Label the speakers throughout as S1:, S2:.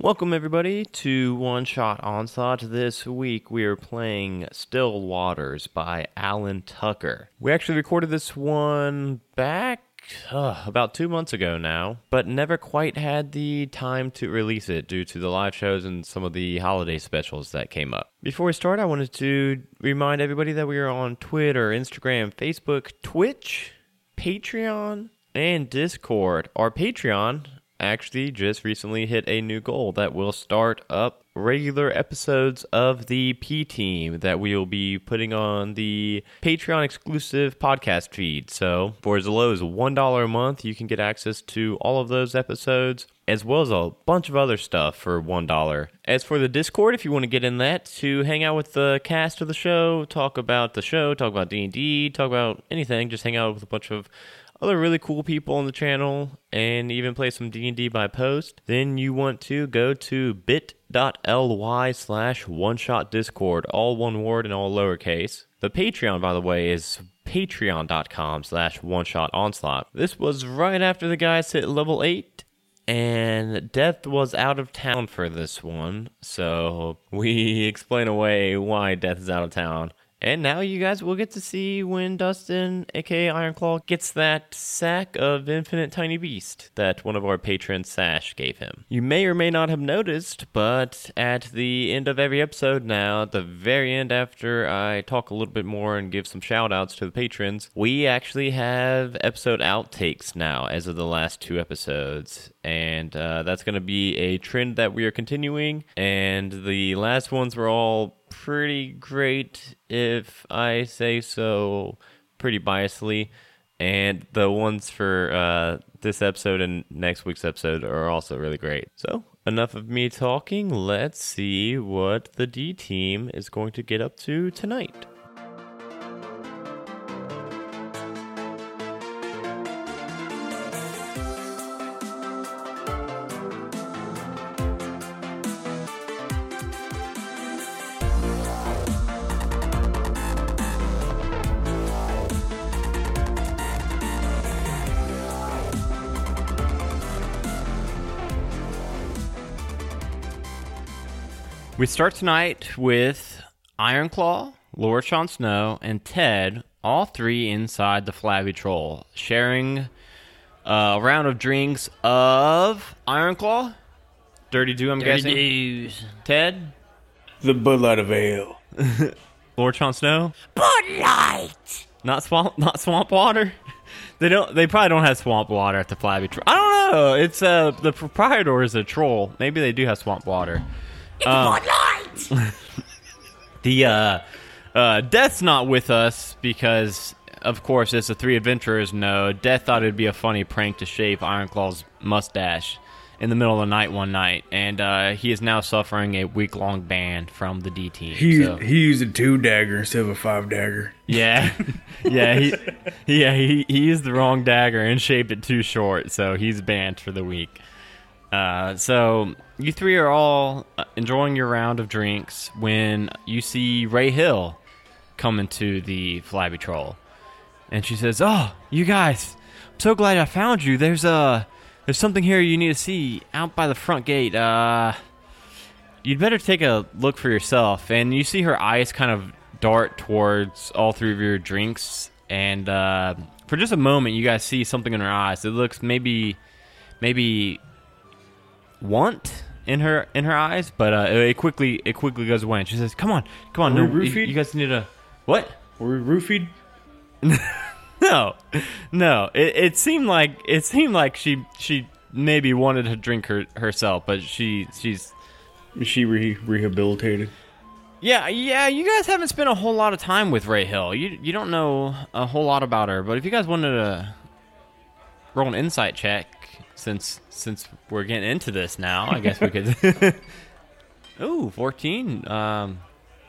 S1: Welcome, everybody, to One Shot Onslaught. This week we are playing Still Waters by Alan Tucker. We actually recorded this one back uh, about two months ago now, but never quite had the time to release it due to the live shows and some of the holiday specials that came up. Before we start, I wanted to remind everybody that we are on Twitter, Instagram, Facebook, Twitch, Patreon, and Discord. Our Patreon actually just recently hit a new goal that will start up regular episodes of the P Team that we will be putting on the Patreon exclusive podcast feed. So, for as low as $1 a month, you can get access to all of those episodes as well as a bunch of other stuff for $1. As for the Discord, if you want to get in that to hang out with the cast of the show, talk about the show, talk about D&D, talk about anything, just hang out with a bunch of other really cool people on the channel and even play some d&d by post then you want to go to bit.ly slash one shot discord all one word and all lowercase the patreon by the way is patreon.com slash one shot onslaught this was right after the guys hit level 8 and Death was out of town for this one, so we explain away why Death is out of town. And now you guys will get to see when Dustin, aka Ironclaw, gets that sack of infinite tiny beast that one of our patrons, Sash, gave him. You may or may not have noticed, but at the end of every episode now, at the very end after I talk a little bit more and give some shout outs to the patrons, we actually have episode outtakes now as of the last two episodes and uh, that's going to be a trend that we are continuing. And the last ones were all pretty great, if I say so, pretty biasly. And the ones for uh, this episode and next week's episode are also really great. So, enough of me talking. Let's see what the D team is going to get up to tonight. We start tonight with Ironclaw, Lord Sean Snow, and Ted, all three inside the Flabby Troll, sharing uh, a round of drinks of Ironclaw, Dirty Dew, I'm guessing.
S2: News.
S1: Ted,
S3: The Bud Light of Ale.
S1: Lord Sean Snow,
S2: Bud Light.
S1: not swamp, not swamp water. They don't. They probably don't have swamp water at the Flabby Troll. I don't know. It's uh the proprietor is a troll. Maybe they do have swamp water. Um,
S2: It's Bud Light.
S1: The uh, uh, Death's not with us because, of course, as the three adventurers know, Death thought it'd be a funny prank to shave Ironclaw's mustache in the middle of the night one night, and uh, he is now suffering a week long ban from the D team.
S3: He
S1: so-
S3: he used a two dagger instead of a five dagger.
S1: yeah, yeah, he, yeah, he, he used the wrong dagger and shaped it too short, so he's banned for the week. Uh, so you three are all uh, enjoying your round of drinks when you see Ray Hill coming to the Flabby Troll, and she says, "Oh, you guys, I'm so glad I found you. There's uh, there's something here you need to see out by the front gate. Uh, you'd better take a look for yourself. And you see her eyes kind of dart towards all three of your drinks. And uh, for just a moment, you guys see something in her eyes. It looks maybe, maybe want in her in her eyes, but uh, it quickly it quickly goes away. And she says, "Come on, come on,
S3: Were
S1: no,
S3: we
S1: you,
S3: roofied?
S1: you guys need to what?
S3: Were we roofied?
S1: No, no. It, it seemed like it seemed like she she maybe wanted to drink her herself, but she she's
S3: Is she re- rehabilitated?
S1: Yeah, yeah, you guys haven't spent a whole lot of time with Ray Hill. You you don't know a whole lot about her, but if you guys wanted to roll an insight check since since we're getting into this now, I guess we could Ooh, 14. Um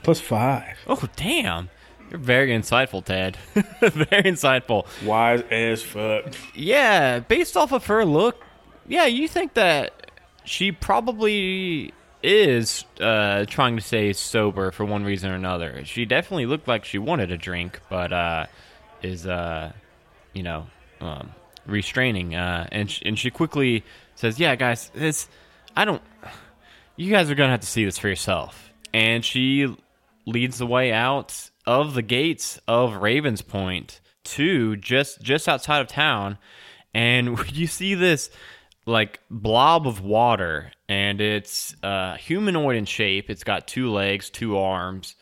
S3: Plus five.
S1: oh damn. You're very insightful, Ted. very insightful.
S3: Wise as fuck.
S1: Yeah, based off of her look, yeah, you think that she probably is uh, trying to stay sober for one reason or another. She definitely looked like she wanted a drink, but uh, is uh, you know um, restraining. Uh, and sh- and she quickly says, "Yeah, guys, this I don't." you guys are gonna have to see this for yourself. And she leads the way out of the gates of Ravens Point to just just outside of town, and you see this like blob of water, and it's uh, humanoid in shape. It's got two legs, two arms,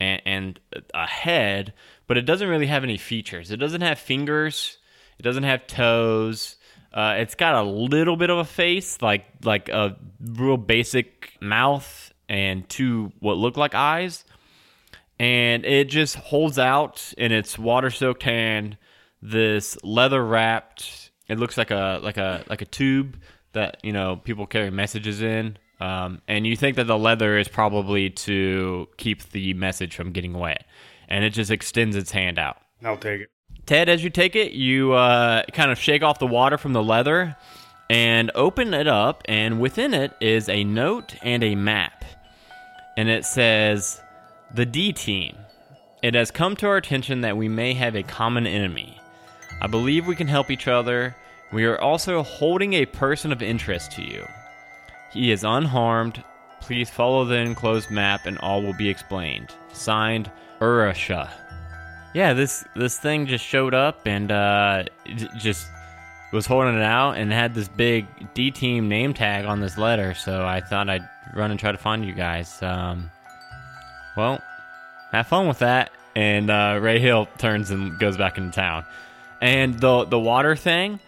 S1: and, and a head, but it doesn't really have any features. It doesn't have fingers. It doesn't have toes. Uh, it's got a little bit of a face, like like a real basic mouth and two what look like eyes. And it just holds out in its water-soaked hand this leather-wrapped. It looks like a like a like a tube that you know people carry messages in. Um, and you think that the leather is probably to keep the message from getting wet. And it just extends its hand out.
S3: I'll take it.
S1: Ted, as you take it, you uh, kind of shake off the water from the leather and open it up, and within it is a note and a map. And it says, The D Team. It has come to our attention that we may have a common enemy. I believe we can help each other. We are also holding a person of interest to you. He is unharmed. Please follow the enclosed map, and all will be explained. Signed, Urasha yeah this this thing just showed up and uh j- just was holding it out and had this big d team name tag on this letter so i thought i'd run and try to find you guys um well have fun with that and uh, ray hill turns and goes back into town and the the water thing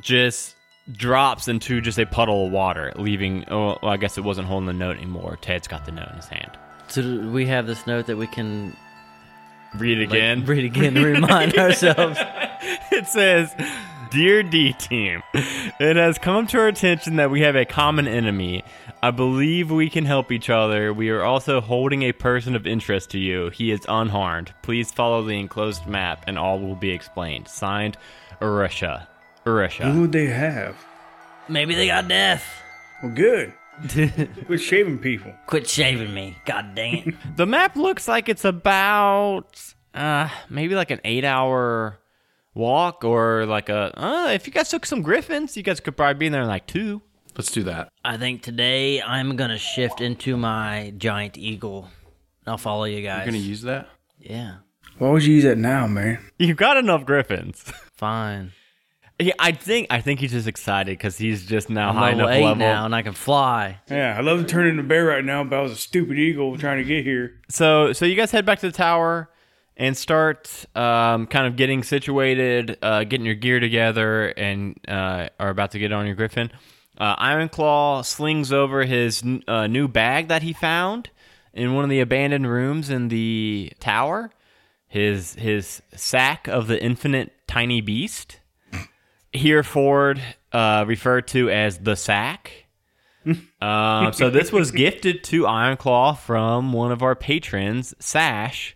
S1: just drops into just a puddle of water leaving oh well, i guess it wasn't holding the note anymore ted's got the note in his hand
S2: So do we have this note that we can
S1: read
S2: like, read again to remind ourselves.
S1: it says, Dear D Team, it has come to our attention that we have a common enemy. I believe we can help each other. We are also holding a person of interest to you. He is unharmed. Please follow the enclosed map and all will be explained. Signed, Urusha.
S3: Who
S1: Urusha.
S3: would they have?
S2: Maybe they got deaf.
S3: Well, good. Quit shaving people.
S4: Quit shaving me. God dang it.
S1: The map looks like it's about uh, maybe like an eight hour walk or like a. Uh, if you guys took some griffins, you guys could probably be in there in like two.
S5: Let's do that.
S2: I think today I'm gonna shift into my giant eagle. I'll follow you guys.
S5: You're gonna use that?
S2: yeah,
S3: Why would you use that now, man?
S1: You've got enough griffins.
S2: fine.
S1: Yeah, I think I think he's just excited because he's just now
S2: I'm
S1: high
S2: level
S1: enough
S2: eight
S1: level.
S2: now, and I can fly.
S3: Yeah, I love to turn into a bear right now, but I was a stupid eagle trying to get here.
S1: So so you guys head back to the tower and start um, kind of getting situated, uh, getting your gear together, and uh, are about to get on your griffin. Uh, Ironclaw slings over his n- uh, new bag that he found in one of the abandoned rooms in the tower. His his sack of the infinite tiny beast. Here Ford uh, referred to as the sack. Um, so this was gifted to Ironclaw from one of our patrons, Sash.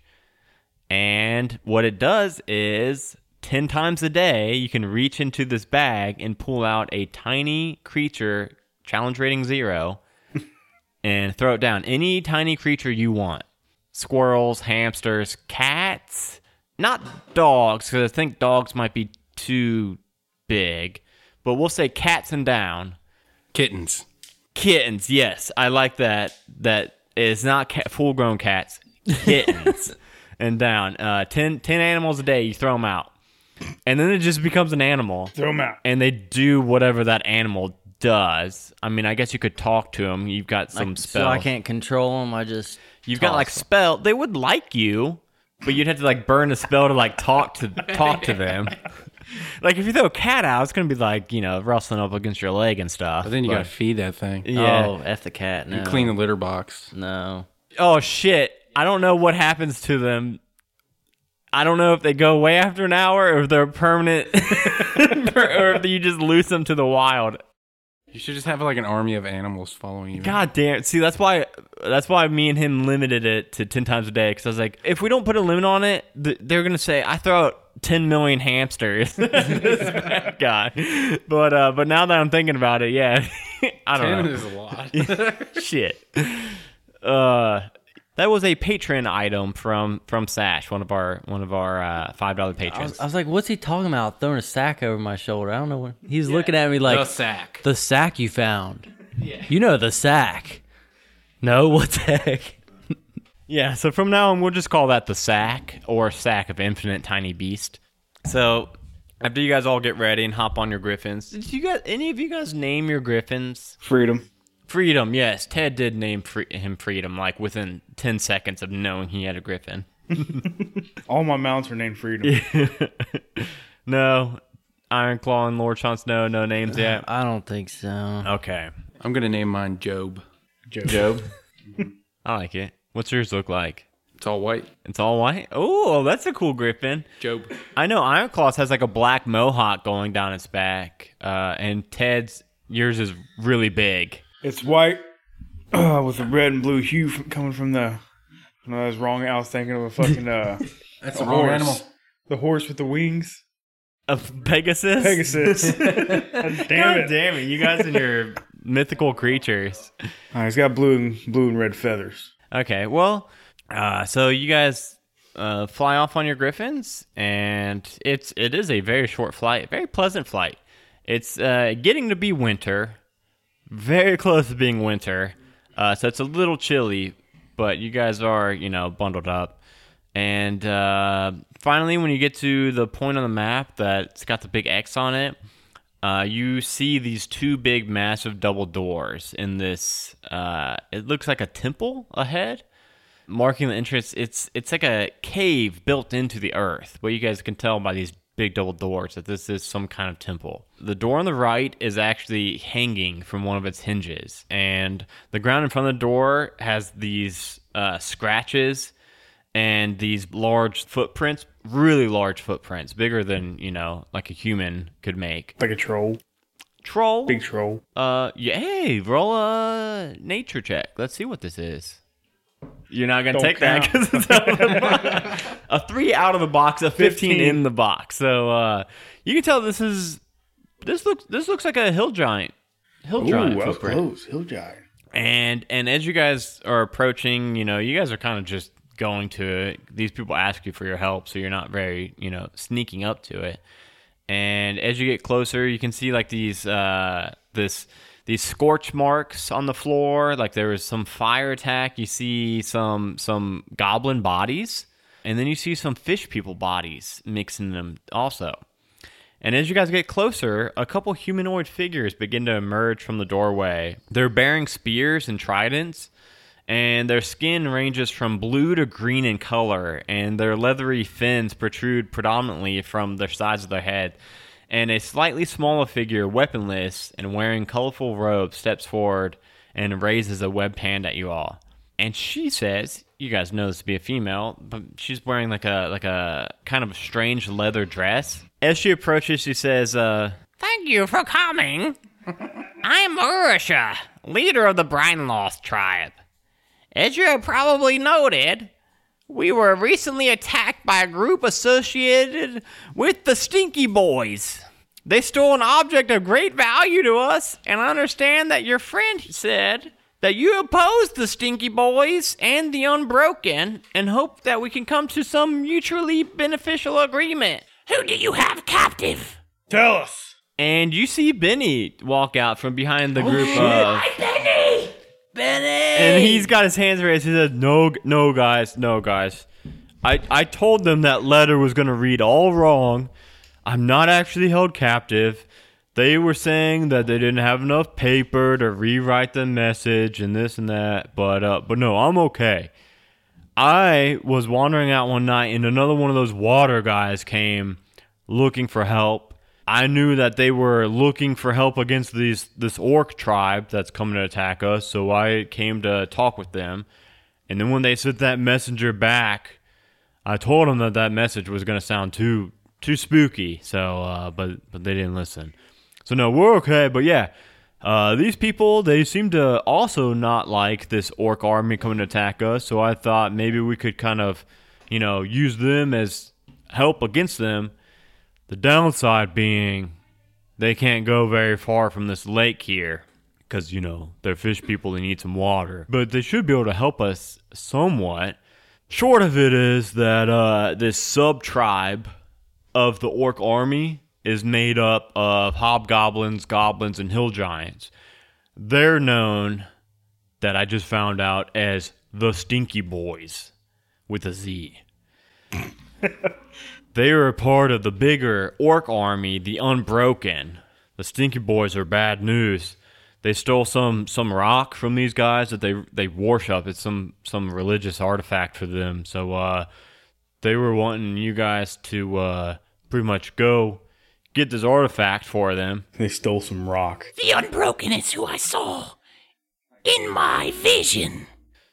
S1: And what it does is 10 times a day, you can reach into this bag and pull out a tiny creature, challenge rating zero, and throw it down. Any tiny creature you want squirrels, hamsters, cats, not dogs, because I think dogs might be too big, but we'll say cats and down
S5: Kittens.
S1: kittens. Yes, I like that. That is not cat, full-grown cats. Kittens and down. Uh, 10, 10 animals a day. You throw them out, and then it just becomes an animal,
S3: Throw him out.
S1: and they do whatever that animal does. I mean, I guess you could talk to them. You've got some spells.
S2: So I can't control them. I just
S1: You've got
S2: toss
S1: like spell. They would like you, but you'd have to like burn a spell to like talk to talk to them. Like if you throw a cat out, it's gonna be like you know rustling up against your leg and stuff.
S5: But then you
S1: but-
S5: gotta feed that thing.
S2: them.
S1: yeah.
S2: Oh, f the cat. No,
S5: Clean the litter box.
S2: no.
S1: oh shit, I don't know what happens to them. I don't know if they go away after an hour or if they're permanent or if you just lose them to the wild.
S5: You should just have like an army of animals following you.
S1: God damn. See, that's why that's why me and him limited it to 10 times a day cuz I was like, if we don't put a limit on it, th- they're going to say I throw out 10 million hamsters. this bad guy. But uh but now that I'm thinking about it, yeah. I don't know.
S5: Ten is a lot.
S1: shit. Uh, that was a patron item from from Sash, one of our one of our uh, five dollar
S2: I
S1: patrons.
S2: was, I was like, what's he talking about? Throwing a sack over my shoulder? I don't know what he's looking at me like
S5: sack.
S2: the sack you found. You know the sack. No, what the heck?
S1: Yeah, so from now on, we'll just call that the sack or sack of infinite tiny beast. So after you guys all get ready and hop on your griffins, did you guys any of you guys name your griffins?
S3: Freedom.
S1: Freedom, yes. Ted did name free- him Freedom, like within ten seconds of knowing he had a griffin.
S3: All my mounts are named Freedom.
S1: No, Iron Claw and Lord Sean Snow, no names yet.
S2: I don't think so.
S1: Okay,
S5: I'm gonna name mine Job.
S3: Job.
S1: I like it. What's yours look like?
S5: It's all white.
S1: It's all white. Oh, that's a cool griffin.
S5: Job.
S1: I know Ironclaws has like a black mohawk going down its back, uh, and Ted's yours is really big.
S3: It's white uh, with a red and blue hue from, coming from the. No, that was wrong. I was thinking of a fucking uh, a
S5: That's the wrong
S3: horse.
S5: animal.
S3: The horse with the wings.
S1: Of Pegasus.
S3: Pegasus. God
S1: God
S3: damn it!
S1: damn it! You guys and your mythical creatures.
S3: Uh, he's got blue and blue and red feathers.
S1: Okay, well, uh, so you guys uh, fly off on your griffins, and it's it is a very short flight, very pleasant flight. It's uh, getting to be winter, very close to being winter, uh, so it's a little chilly, but you guys are you know bundled up, and uh, finally when you get to the point on the map that's got the big X on it. Uh, you see these two big, massive double doors in this. Uh, it looks like a temple ahead, marking the entrance. It's it's like a cave built into the earth. But you guys can tell by these big double doors that this is some kind of temple. The door on the right is actually hanging from one of its hinges, and the ground in front of the door has these uh, scratches and these large footprints, really large footprints, bigger than you know, like a human could make.
S3: Like a troll.
S1: Troll.
S3: Big troll.
S1: Uh, yeah, hey, roll a nature check. Let's see what this is. You're not gonna
S3: Don't
S1: take that 'cause it's out of the box. a three out of the box, a 15,
S3: 15.
S1: in the box. So uh, you can tell this is this looks this looks like a hill giant, hill giant
S3: Ooh, up
S1: footprint.
S3: close. Hill giant.
S1: And and as you guys are approaching, you know, you guys are kind of just going to it. These people ask you for your help, so you're not very, you know, sneaking up to it. And as you get closer, you can see like these uh this these scorch marks on the floor, like there was some fire attack. You see some some goblin bodies, and then you see some fish people bodies mixing them also. And as you guys get closer, a couple humanoid figures begin to emerge from the doorway. They're bearing spears and tridents, and their skin ranges from blue to green in color, and their leathery fins protrude predominantly from the sides of their head. And a slightly smaller figure, weaponless and wearing colorful robes, steps forward and raises a webbed hand at you all. And she says, "You guys know this to be a female, but she's wearing like a like a kind of strange leather dress." As she approaches, she says, uh, "Thank you for coming. I'm Urusha, leader of the Brynloth tribe. As you have probably noted, we were recently attacked by a group associated with the Stinky Boys." They stole an object of great value to us, and I understand that your friend said that you oppose the Stinky Boys and the Unbroken and hope that we can come to some mutually beneficial agreement. Who do you have captive?
S3: Tell us.
S1: And you see Benny walk out from behind the group of. And he's got his hands raised. He says, "No, no, guys, no, guys. I, I told them that letter was gonna read all wrong. I'm not actually held captive. They were saying that they didn't have enough paper to rewrite the message and this and that. But uh, but no, I'm okay. I was wandering out one night, and another one of those water guys came looking for help. I knew that they were looking for help against these this orc tribe that's coming to attack us, so I came to talk with them. And then when they sent that messenger back, I told them that that message was going to sound too too spooky. So, uh, but but they didn't listen. So no, we're okay. But yeah, uh, these people they seem to also not like this orc army coming to attack us. So I thought maybe we could kind of, you know, use them as help against them. The downside being they can't go very far from this lake here because, you know, they're fish people, they need some water. But they should be able to help us somewhat. Short of it is that uh, this sub tribe of the orc army is made up of hobgoblins, goblins, and hill giants. They're known that I just found out as the Stinky Boys with a Z. they are a part of the bigger orc army, the Unbroken. The Stinky Boys are bad news. They stole some some rock from these guys that they they worship. It's some some religious artifact for them. So uh, they were wanting you guys to uh, pretty much go get this artifact for them.
S3: They stole some rock.
S6: The Unbroken is who I saw in my vision.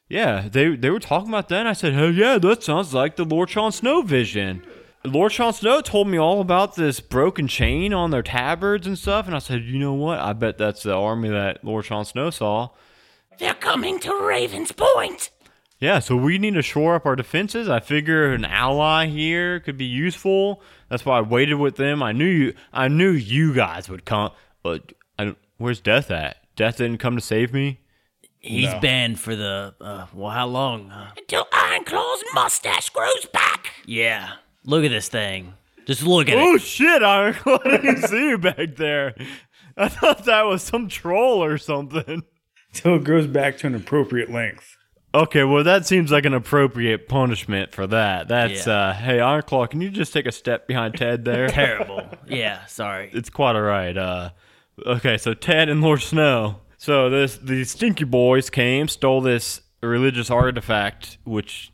S1: Yeah, they they were talking about that. And I said, "Hell yeah, that sounds like the Lord Sean Snow vision." Lord Sean Snow told me all about this broken chain on their tabards and stuff, and I said, "You know what? I bet that's the army that Lord Sean Snow saw."
S6: They're coming to Raven's Point.
S1: Yeah, so we need to shore up our defenses. I figure an ally here could be useful. That's why I waited with them. I knew you. I knew you guys would come. But I don't, where's Death at? Death didn't come to save me.
S2: He's banned for the uh, well, how long? Uh,
S6: Until Ironclaw's mustache grows back.
S2: yeah. Look at this thing. Just look at
S1: Oh
S2: it.
S1: shit, I didn't see you back there. I thought that was some troll or something.
S3: Till it grows back to an appropriate length.
S1: Okay, well that seems like an appropriate punishment for that. That's
S2: Yeah.
S1: uh hey Ironclaw, can you just take a step behind Ted there?
S2: Terrible. Yeah. Sorry.
S1: it's quite alright. Uh okay, so Ted and Lord Snow. So this the stinky boys came, stole this religious artifact, which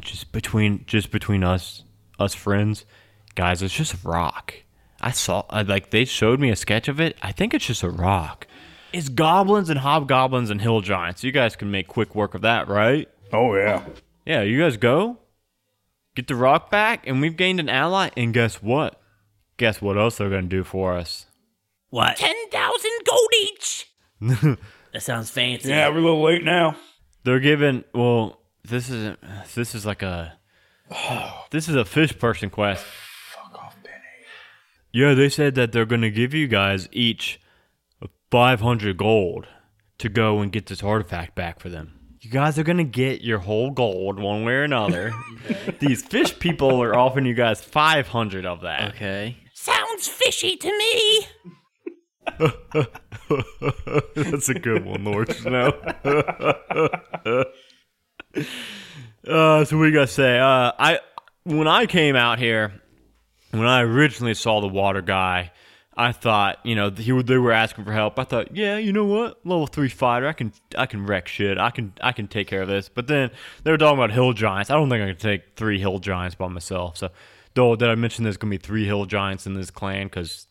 S1: just between just between us us friends, guys, it's just a rock. I saw I, like they showed me a sketch of it. I think it's just a rock. It's goblins and hobgoblins and hill giants. You guys can make quick work of that, right?
S3: Oh yeah.
S1: Yeah, you guys go. Get the rock back, and we've gained an ally. And guess what? Guess what else they're gonna do for us?
S2: What?
S6: Ten thousand gold each.
S2: That sounds fancy.
S3: Yeah, we're a little late now.
S1: They're giving. Well, this isn't. This is like a. This is a fish person quest. Fuck off, Benny. Yeah, they said that they're gonna give you guys each five hundred gold to go and get this artifact back for them. You guys are gonna get your whole gold one way or another. These fish people are offering you guys five hundred of that.
S2: Okay.
S6: Sounds fishy to me.
S1: That's a good one, Lord Snow. uh, so we gotta say, uh, I when I came out here, when I originally saw the water guy, I thought, you know, he would- they were asking for help. I thought, yeah, you know what, level three fighter, I can I can wreck shit. I can I can take care of this. But then they were talking about hill giants. I don't think I can take three hill giants by myself. So, though, did I mention there's gonna be three hill giants in this clan? Because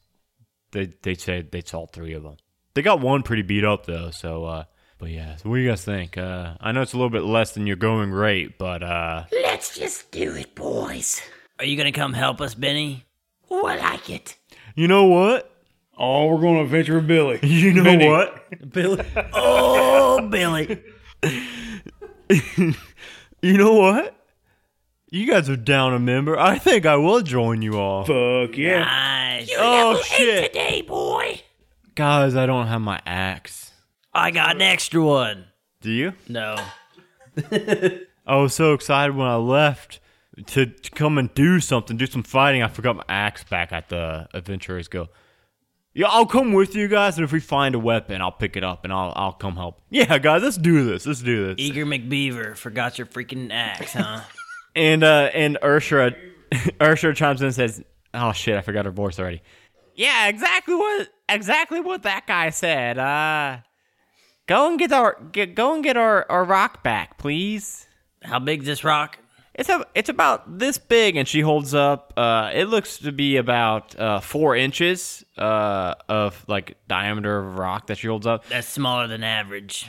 S1: they they said they saw three of them. They got one pretty beat up though. So, uh, but yeah, so what do you guys think? Uh, I know it's a little bit less than your going rate, but uh,
S6: Let's just do it, boys.
S2: Are you gonna come help us, Benny?
S6: Well, I like it.
S1: you know what?
S3: Oh, we're going to adventure with Billy.
S1: You know
S3: Vinny.
S1: what?
S2: Billy. Oh, Billy.
S1: You know what? You guys are down a member. I think I will join you all.
S3: Fuck yeah.
S2: Nice.
S1: Oh
S6: Hey,
S1: shit,
S6: today, boy.
S1: guys! I don't have my axe.
S2: I got an extra one.
S1: Do you?
S2: No.
S1: I was so excited when I left to, to come and do something, do some fighting. I forgot my axe back at the Adventurers Guild. Yeah, I'll come with you guys, and if we find a weapon, I'll pick it up and I'll I'll come help. Yeah, guys, let's do this. Let's do this.
S2: Eager McBeaver forgot your freaking axe, huh?
S1: And uh and Ursula Ursula chimes in and says, "Oh shit, I forgot her voice already." Yeah, exactly what exactly what that guy said. Uh, go and get our get, go and get our our rock back, please.
S2: How big's this rock?
S1: It's a, it's about this big, and she holds up. Uh, it looks to be about uh, four inches uh, of like diameter of rock that she holds up.
S2: That's smaller than average.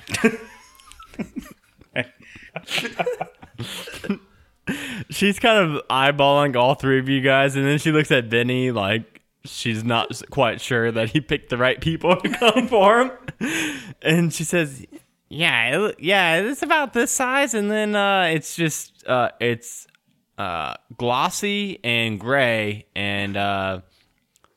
S1: She's kind of eyeballing all three of you guys, and then she looks at Benny like she's not s- quite sure that he picked the right people to come for him. And she says, "Yeah, it, loo- yeah, it's about this size, and then uh, it's just uh, it's uh, glossy and gray and." Uh,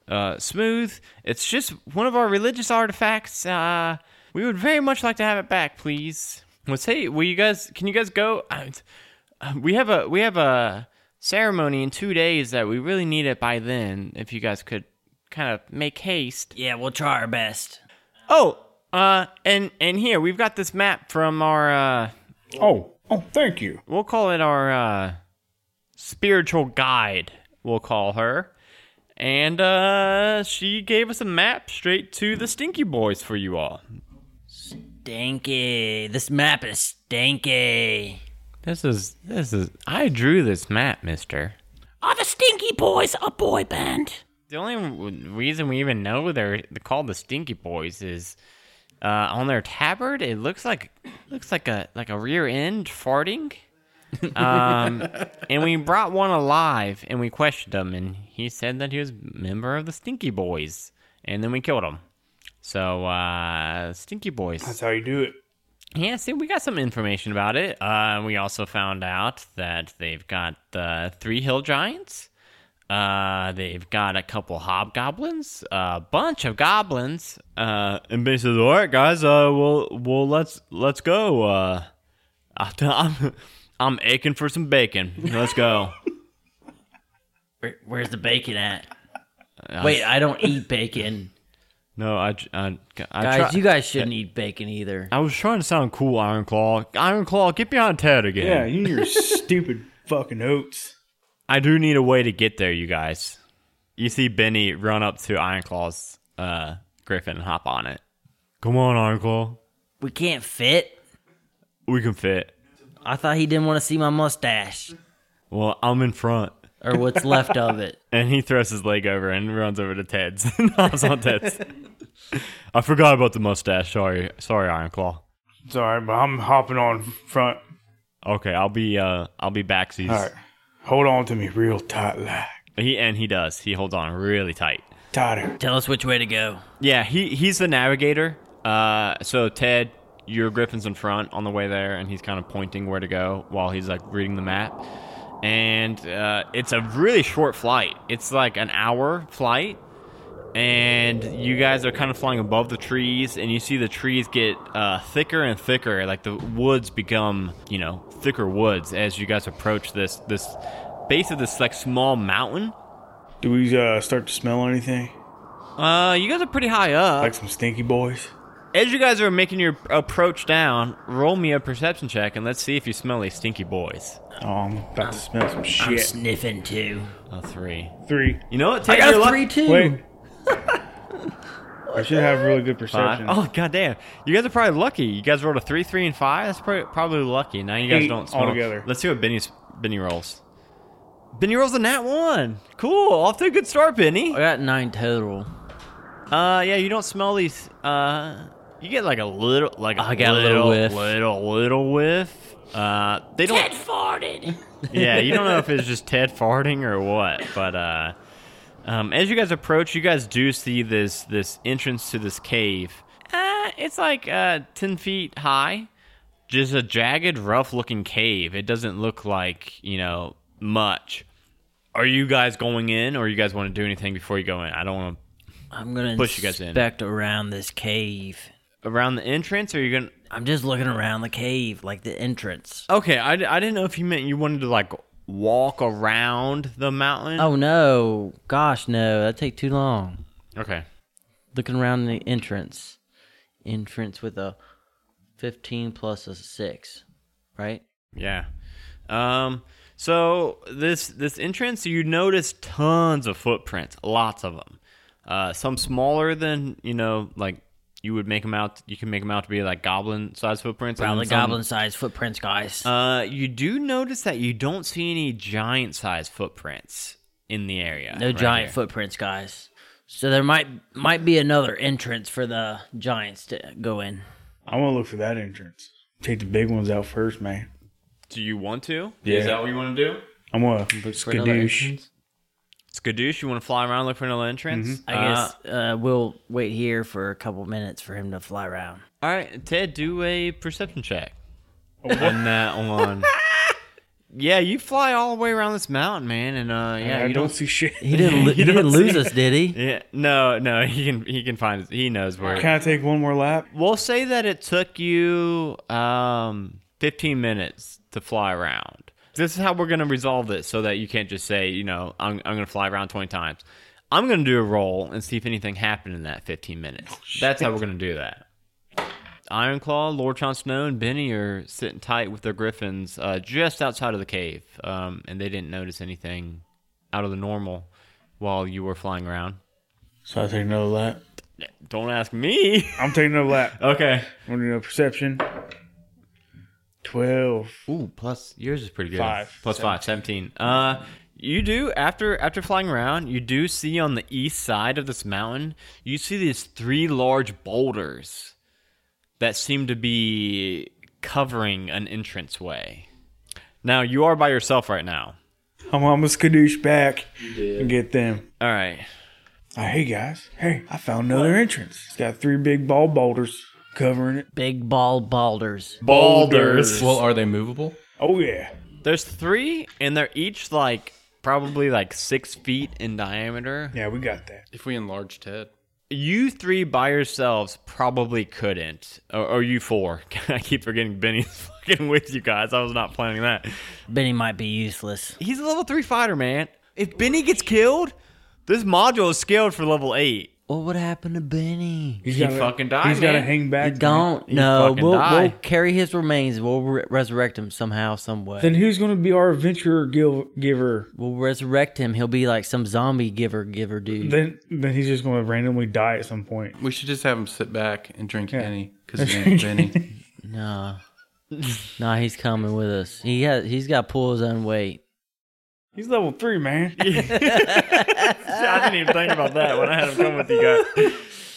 S1: uh, smooth. It's just one of our religious artifacts. Uh, we would very much like to have it back, please. Let's say, will you guys? Can you guys go? Uh, we have a we have a ceremony in two days that we really need it by then. If you guys could kind of make haste.
S2: Yeah, we'll try our best.
S1: Oh, Uh, and and here we've got this map from our uh,
S3: Oh, oh, thank you.
S1: we'll call it our uh, spiritual guide. We'll call her, and uh, she gave us a map straight to the Stinky Boys for you all.
S2: Stinky. This map is stinky.
S1: This is this is I drew this map, Mister.
S6: Are the Stinky Boys a boy band?
S1: The only w- reason we even know they're they're called the Stinky Boys is uh, on their tabard. It looks like looks like a like a rear end farting. um, and we brought one alive, and we questioned him, and he said that he was a member of the Stinky Boys, and then we killed him. So uh, Stinky Boys.
S3: That's how you do it.
S1: Yeah, see, we got some information about it. Uh, we also found out that they've got uh, three hill giants. Uh, they've got a couple hobgoblins, a bunch of goblins. Uh, and basically, all right, guys, uh, well, well, let's let's go. Uh, I- I'm I'm aching for some bacon. Let's go.
S2: Where, where's the bacon at? Wait, I don't eat bacon.
S1: no, I j- I, I
S2: Guys,
S1: try-
S2: you guys shouldn't eat bacon either.
S1: I was trying to sound cool, Iron Claw. Iron Claw, get behind Ted again.
S3: Yeah, you and your stupid fucking oats.
S1: I do need a way to get there, you guys. You see Benny run up to Ironclaw's uh, griffin and hop on it. Come on, Ironclaw.
S2: We can't fit.
S1: We can fit.
S2: I thought he didn't want to see my mustache
S1: Well, I'm in front.
S2: or what's left of it.
S1: And he thrusts his leg over and runs over to Ted's. and hops on Ted's. I forgot about the mustache. Sorry. Sorry, Ironclaw.
S3: It's all right, but I'm hopping on front.
S1: Okay, I'll be uh I'll be backsies.
S3: All right, hold on to me real tight, like
S1: He and he does. He holds on really tight.
S3: tighter.
S2: Tell us which way to go.
S1: Yeah, he he's the navigator. Uh, so Ted, your griffin's in front on the way there, and he's kind of pointing where to go while he's like reading the map. And uh, it's a really short flight. It's like an hour flight, and you guys are kind of flying above the trees, and you see the trees get uh, thicker and thicker. Like the woods become, you know, thicker woods as you guys approach this this base of this like small mountain.
S3: Do we uh, start to smell anything?
S1: Uh, you guys are pretty high up.
S3: Like some stinky boys?
S1: As you guys are making your approach down, roll me a perception check and let's see if you smell these stinky boys.
S3: Oh, I'm about to smell some
S2: I'm
S3: shit.
S2: sniffing too.
S1: A three.
S3: Three.
S1: You know what? Ted,
S2: I
S1: you're
S2: got
S1: luck-
S2: three too.
S3: Wait. I should have really good
S1: Five.
S3: perception.
S1: Oh goddamn! You guys are probably lucky. You guys rolled a three, three, and five. That's probably, probably lucky. Now you guys
S3: Eight
S1: don't smell.
S3: altogether.
S1: Let's see what Benny's Benny rolls. Benny rolls a nat one. Cool. Off to a good start, Benny.
S2: I got nine total.
S1: Uh, yeah. You don't smell these. Uh, you get like a little, like a
S2: I got a little whiff.
S1: little, little whiff. Uh, they don't.
S6: Ted farted.
S1: yeah, you don't know if it's just Ted farting or what, but uh, um, as you guys approach, you guys do see this this entrance to this cave. Uh, it's like uh, ten feet high, just a jagged, rough looking cave. It doesn't look like you know much. Are you guys going in, or you guys want to do anything before you go in? I don't want
S2: I'm gonna
S1: Push you guys in.
S2: inspect around this cave.
S1: to around the entrance. Or are you gonna?
S2: I'm just looking around the cave, like the entrance.
S1: Okay, I, I didn't know if you meant you wanted to like walk around the mountain.
S2: Oh no! Gosh, no! That'd take too long.
S1: okay.
S2: Looking around the entrance, entrance with a fifteen plus a six, right?
S1: Yeah. Um so this this entrance you notice tons of footprints, lots of them. Uh some smaller than, you know, like you would make them out you can make them out to be like goblin sized footprints. and
S2: Probably
S1: then some-
S2: goblin-sized footprints, guys.
S1: Uh you do notice that you don't see any giant sized footprints in the area.
S2: no
S1: right
S2: giant
S1: here.
S2: footprints, guys. So there might might be another entrance for the giants to go in.
S3: I'm going to look for that entrance. Take the big ones out first, man.
S1: Do you want to?
S3: Yeah.
S1: Is that what you want to do?
S3: I'm going to
S2: For another
S3: skadoosh.
S2: entrance?
S1: Skadoosh, you want to fly around look for another entrance?
S2: I
S1: Uh,
S2: guess uh, we'll wait here for a couple minutes for him to fly around.
S1: All right, Ted, do a perception check. On that one. yeah, you fly all the way around this mountain, man, and uh, yeah,
S3: I
S1: you
S3: don't
S1: don't.
S3: see shit.
S2: He didn't. Lo- he didn't lose us, did he?
S1: Yeah, no, no, he can he can find he knows where.
S3: Can I take one more lap?
S1: We'll say that it took you um 15 minutes to fly around. This is how we're gonna resolve this, so that you can't just say, you know, I'm I'm gonna fly around 20 times. Oh, I'm gonna do a roll and see if anything happened in that 15 minutes. That's how we're gonna do that. Ironclaw, Lord Jon Snow, and Benny are sitting tight with their griffins uh, just outside of the cave, um, and they didn't notice anything out of the normal while you were flying around.
S3: So I take another lap.
S1: Don't ask me.
S3: I'm taking another lap.
S1: okay.
S3: I'm gonna do a perception. Twelve.
S1: Ooh, plus yours is pretty good.
S3: Five.
S1: Plus five, 17. Uh, you do after after flying around, you do see on the east side of this mountain, you see these three large boulders that seem to be covering an entranceway. Now you are by yourself right now.
S3: I'm almost skadoosh back and get them.
S1: All right.
S3: Oh, hey guys. Hey, I found another entrance. It's got three big ball boulders covering it.
S2: Big ball balders.
S3: Boulders.
S5: Well, are they movable?
S3: Oh yeah.
S1: There's three, and they're each like probably like six feet in diameter.
S3: Yeah, we got that.
S5: If we enlarge Ted.
S1: You three by yourselves probably couldn't. Or, or you four. I keep forgetting Benny's fucking with you guys. I was not planning that.
S2: Benny might be useless.
S1: He's a level three fighter, man. If Benny gets killed, this module is scaled for level eight.
S2: What would happen to Benny?
S3: He's
S1: He
S3: gotta-
S1: fucking died,
S3: He's gotta
S1: man.
S3: hang back.
S2: I don't
S1: you
S2: know.
S1: fucking
S2: We'll, we'll
S1: die.
S2: carry his remains. We'll re- resurrect him somehow, some way.
S3: Then who's gonna be our adventurer gil- giver?
S2: we'll resurrect him. He'll be like some zombie giver, giver
S1: Mm.
S2: dude.
S3: Then then he's just gonna randomly die at some point.
S5: We should just have him sit back and drink any because Benny.
S2: Nah. nah, he's coming with us. He got he's got to pull his own weight.
S3: He's level three, man.
S1: I didn't even think about that when I had him come with you guys.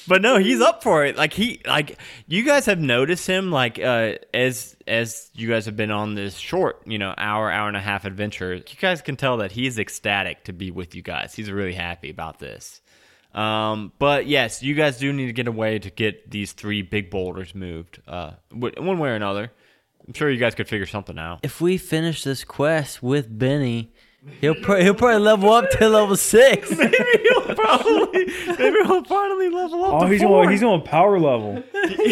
S1: But no, he's up for it. Like he, like you guys have noticed him. Like uh, as as you guys have been on this short, you know, hour hour and a half adventure, you guys can tell that he's ecstatic to be with you guys. He's really happy about this. Um, but yes, you guys do need to get away to get these three big boulders moved. Uh, w- one way or another. I'm sure you guys could figure something out.
S2: If we finish this quest with Benny, he'll pro- he'll probably level up to level six.
S1: maybe he'll probably, maybe he'll finally level up.
S3: Oh,
S1: to
S3: he's
S1: four.
S3: on he's on power level.
S1: He's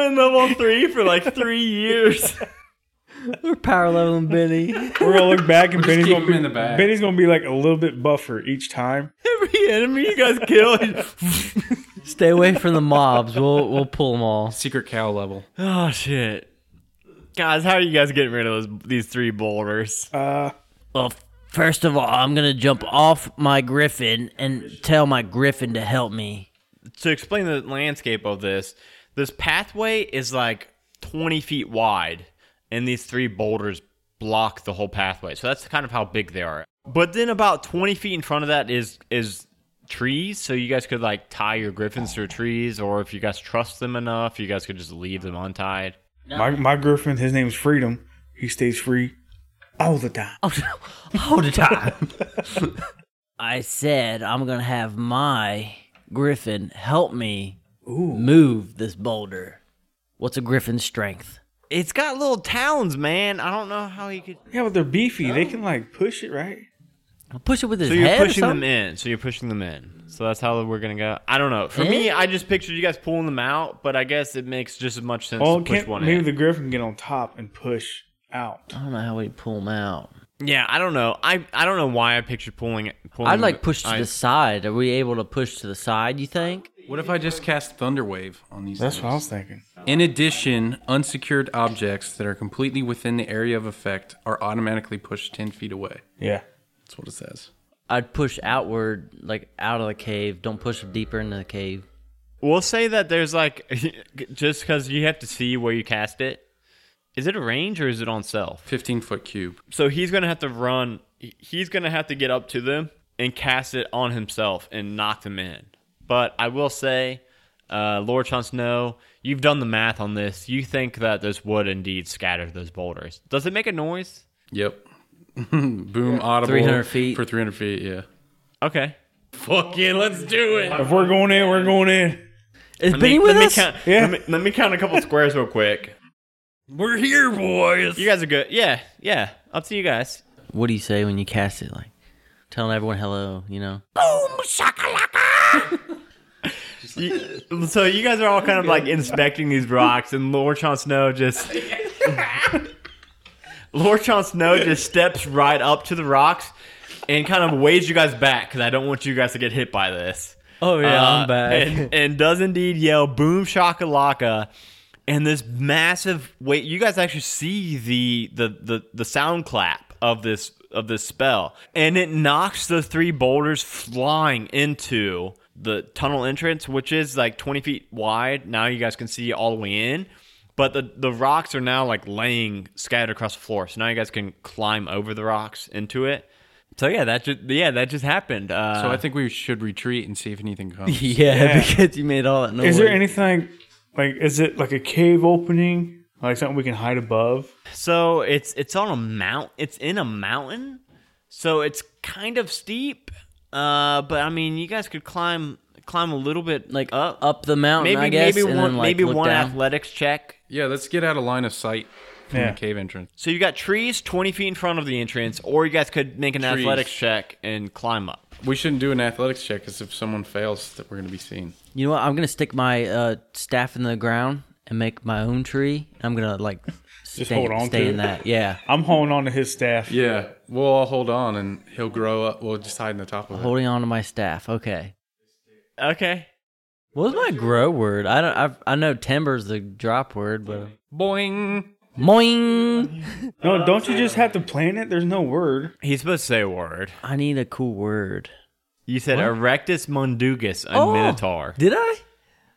S1: been level three for like three years.
S2: We're power leveling Benny.
S3: We're gonna look back and Benny's
S5: keep
S3: gonna
S5: him
S3: be,
S5: in the back.
S3: Benny's gonna be like a little bit buffer each time.
S1: Every enemy you guys kill.
S2: Stay away from the mobs. We'll we'll pull them all.
S5: Secret cow level.
S1: oh shit, guys! How are you guys getting rid of those these three boulders?
S3: Uh,
S2: Well, first of all, I'm gonna jump off my griffin and tell my griffin to help me.
S1: to explain the landscape of this, this pathway is like 20 feet wide, and these three boulders block the whole pathway. So that's kind of how big they are. But then about 20 feet in front of that is is trees, so you guys could like tie your griffins to trees, or if you guys trust them enough, you guys could just leave them untied.
S3: my my girlfriend, his name's Freedom. He stays free all the time.
S2: Oh, all the time. I said I'm gonna have my griffin help me move this boulder. What's a griffin's strength?
S1: It's got little talons, man. I don't know how you could.
S3: Yeah, but they're beefy.
S1: Oh.
S3: They can like push it, right?
S2: I'll push it with his
S1: So you're
S2: head. or
S1: pushing them
S2: something?
S1: in. So you're pushing them in. So that's how we're gonna go. I don't know. For me, I just pictured you guys pulling them out, but I guess it makes just as much sense
S3: Well,
S1: to push
S3: Oh, can't,
S1: one
S3: maybe
S1: in.
S3: the griffin can get on top and push out.
S2: I don't know how we pull them out.
S1: yeah, I don't know. I I don't know why I pictured pulling it. Pulling
S2: I'd like push to
S1: I-
S2: the side. Are we able to push to the side? You think?
S5: What if I just cast Thunderwave on these?
S3: That's
S5: things?
S3: what I was thinking.
S5: In addition, unsecured objects that are completely within the area of effect are automatically pushed 10 feet away.
S3: Yeah.
S5: That's what it says.
S2: I'd push outward, like out of the cave. Don't push deeper into the cave.
S1: We'll say that there's like just because you have to see where you cast it. Is it a range or is it on self?
S5: 15 foot cube.
S1: So he's gonna have to run. he- He's gonna have to get up to them and cast it on himself and knock them in. But I will say, uh, Lord Jon Snow, you've done the math on this. You think that this would indeed scatter those boulders. Does it make a noise?
S5: Yep. Boom audible.
S2: 300 feet.
S5: For 300 feet, yeah.
S1: Okay.
S3: If we're going in, we're going in.
S2: Is Benny with
S1: let
S2: us?
S1: Me count,
S3: Yeah.
S1: let, me, let me count a couple squares real quick.
S5: We're here, boys.
S1: You guys are good. Yeah, yeah. Up to you guys.
S2: What do you say when you cast it? Like telling everyone hello, you know?
S6: Boom shakalaka!
S1: You- so you guys are all kind of like inspecting these rocks, and Lord Jon Snow just. Lord Jon Snow just steps right up to the rocks and kind of waves you guys back because I don't want you guys to get hit by this.
S2: Oh, yeah, I'm
S1: Uh,
S2: back.
S1: And, and does indeed yell "Boom Shakalaka," and this massive wait. You guys actually see the the the the sound clap of this of this spell, and it knocks the three boulders flying into the tunnel entrance, which is like 20 feet wide. Now you guys can see all the way in. But the, the rocks are now like laying scattered across the floor, so now you guys can climb over the rocks into it. So yeah, that just yeah that just happened. Uh,
S5: So I think we should retreat and see if anything comes.
S2: Yeah, because you made all that noise.
S3: Is there anything like? Is it like a cave opening? Like something we can hide above?
S1: So it's it's on a mount. It's in a mountain, so it's kind of steep. Uh, but I mean, you guys could climb climb a little bit
S2: like
S1: up.
S2: up up the mountain?
S1: maybe
S2: I guess,
S1: maybe
S2: and
S1: one
S2: then, like,
S1: maybe
S2: look
S1: one
S2: down?
S1: athletics check.
S5: Yeah, let's get out of line of sight from
S3: Yeah.
S5: the cave entrance.
S1: So you got trees twenty feet in front of the entrance, or you guys could make an
S5: Trees.
S1: athletics check and climb up.
S5: We shouldn't do an athletics check because if someone fails, that we're going to be seen.
S2: You know what? I'm gonna stick my uh, staff in the ground and make my own tree. I'm gonna like just stay,
S3: hold on
S2: stay
S3: to
S2: in
S3: it.
S2: that. Yeah,
S3: I'm holding on to his staff.
S5: Yeah, we'll all hold on and he'll grow up. We'll just hide in the top of it.
S2: holding on to my staff. Okay.
S1: Okay.
S2: What was my grow word? I don't. I've, I know timber's the drop word, but
S5: Boing.
S2: moing.
S3: No, don't you just have to plan it? There's no word.
S1: He's supposed to say a word.
S2: I need a cool word.
S1: You said erectus mundugus and
S2: Oh.
S1: minotaur.
S2: Did I?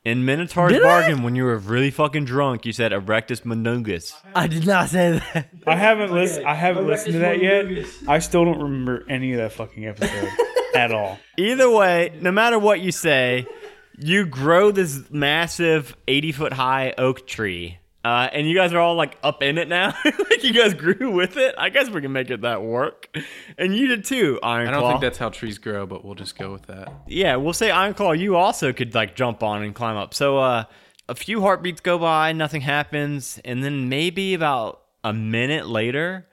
S1: In Minotaur's
S2: Did I?
S1: bargain, when you were really fucking drunk, you said erectus mundugus.
S2: I did not say that.
S3: I haven't listened. I haven't listened to that yet. I still don't remember any of that fucking episode at all.
S1: Either way, no matter what you say, you grow this massive 80 foot high oak tree. Uh, and you guys are all like up in it now. like you guys grew with it. I guess we can make it that work. And you did too, Iron
S5: I don't
S1: Claw.
S5: think that's how trees grow, but we'll just go with that.
S1: yeah, we'll say Iron Claw, you also could like jump on and climb up. So uh, a few heartbeats go by, nothing happens. And then maybe about a minute later,